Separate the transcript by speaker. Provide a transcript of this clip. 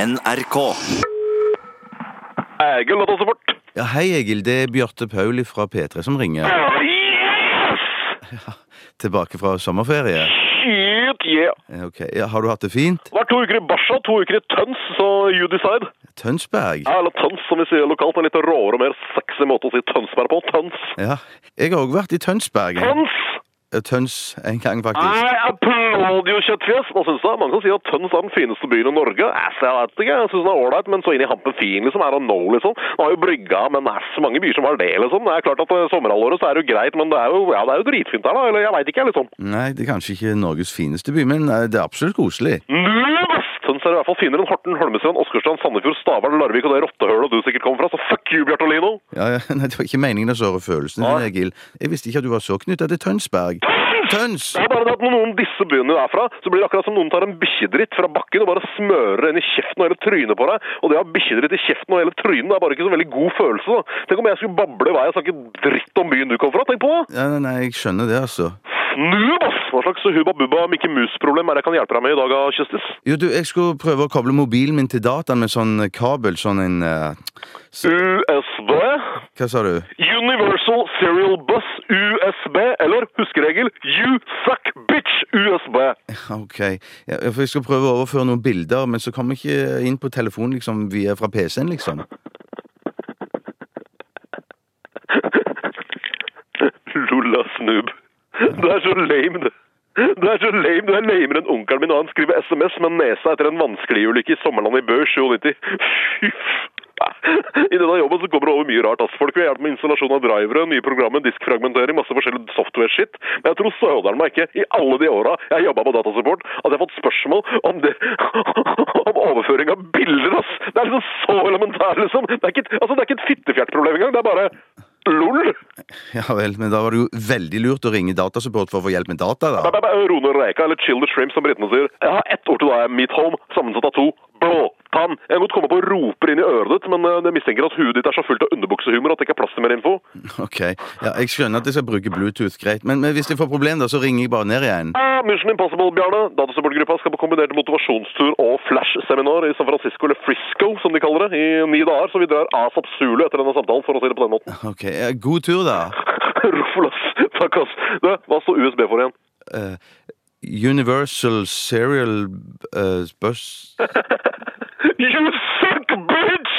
Speaker 1: NRK.
Speaker 2: Egil og Tosseport.
Speaker 3: Ja, Hei, Egil. Det er Bjarte Pauli fra P3 som ringer.
Speaker 2: Yes!
Speaker 3: Tilbake fra sommerferie.
Speaker 2: Shit, yeah.
Speaker 3: Eh, Ok, ja, Har du hatt det fint?
Speaker 2: Det er to uker i Barca, to uker i Tøns, så you decide.
Speaker 3: Tønsberg?
Speaker 2: Ja, eller Tøns, som vi sier lokalt. En litt råere og mer sexy måte å si Tønsberg på. Tøns.
Speaker 3: Ja. Jeg har òg vært i Tønsberg.
Speaker 2: Tøns!
Speaker 3: Eh, Tøns en gang, faktisk.
Speaker 2: I applaud you, kjøttfjes. Hva synes du? Mange som sier at Tøns er den fineste byen i Norge. Ass, jeg vet ikke. Jeg synes den er ålreit, men så inn i hampen fin, liksom. Er han no, liksom? Nå har jo brygga, men det er så mange byer som har det, liksom. Det er klart at eh, sommerhalvåret så er det jo greit, men det er jo, ja, det er jo dritfint her, da. Eller jeg vet ikke, jeg, liksom.
Speaker 3: Nei, det er kanskje ikke Norges fineste by, men eh, det er absolutt koselig.
Speaker 2: Nervous! Tøns er Sånn i hvert fall finere enn Horten, Holmestrand, Åsgårdstrand, Sandefjord, Stavern, Larvik og det rottehølet du sikkert kommer fra, så fuck you, Bjartolino!
Speaker 3: Ja, ja, nei, Det var ikke meningen å såre følelsene
Speaker 2: Nei.
Speaker 3: dine, Egil. Jeg visste ikke at du var så knytta til Tønsberg. Tøns!
Speaker 2: Det er bare det at når noen disser byen du er fra, så blir det akkurat som noen tar en bikkjedritt fra bakken og bare smører det inn i kjeften og hele trynet på deg. Og det å ha bikkjedritt i kjeften og hele trynet det er bare ikke så veldig god følelse, da. Tenk om jeg skulle bable i vei og snakke dritt om byen du kom fra, tenk på det!
Speaker 3: Ja, nei, nei, jeg skjønner det, altså.
Speaker 2: Snub, ass! Hva slags hubba bubba Mikke Mus-problem er det jeg kan hjelpe deg med i dag, da, Kjøstis?
Speaker 3: Jo, du, jeg skulle prøve å koble mobilen min til dataen med sånn eh, kabel, sånn en eh,
Speaker 2: USB,
Speaker 3: Hva sa du?
Speaker 2: Universal Serial Bus USB, eller huskeregel You Suck Bitch USB.
Speaker 3: Ok, ja, for jeg skal prøve å overføre noen bilder, men så kommer jeg ikke inn på telefonen liksom, via fra PC-en, liksom.
Speaker 2: Lulla Snoop. Du er så lame, du. Du er så lame, du er lamere enn onkelen min, og han skriver SMS med nesa etter en vanskeligulykke i sommerland i Bø 97. Fy f- I denne jobben så kommer det over mye rart. ass. Folk vil hjelpe med installasjon av drivere, nye programmer, diskfragmentering, masse forskjellig software-shit. Men jeg tror søderen meg ikke, i alle de åra jeg har jobba med datasupport, at jeg har fått spørsmål om det om overføring av bilder, ass! Det er liksom så elementært, liksom! Det er ikke, et- altså, det er ikke et fittefjertproblem engang, det er bare lol!
Speaker 3: Ja vel, men da var det jo veldig lurt å ringe datasupport for å få hjelp med data, da.
Speaker 2: Nei, nei, nei, Rone Reika, eller Chill the Shrimp, som britene sier. Jeg har ett ord til deg, Meat Home, sammensatt av to. Blåtann. Jeg kan godt komme på og roper inn i øret ditt, men eh, jeg mistenker at huet ditt er så fullt av underbuksehumor at det ikke er plass til mer info.
Speaker 3: Ok, ja, jeg skjønner at jeg skal bruke Bluetooth, greit, men, men hvis jeg får problem da, så ringer jeg bare ned igjen.
Speaker 2: Ah, Mission Impossible, Bjarne. Datasupportgruppa skal på kombinert motivasjonstur og flash-seminar i San Francisco, eller Frisco, som de kaller det, i ni dager, så vi drar asap sulu etter denne samtalen, for å si det på den måten.
Speaker 3: Ok, ja, god tur da.
Speaker 2: Ruffelas, takk ass. Du, hva står USB for igjen?
Speaker 3: Eh, Universal Serial eh, Bus...
Speaker 2: You suck, bitch!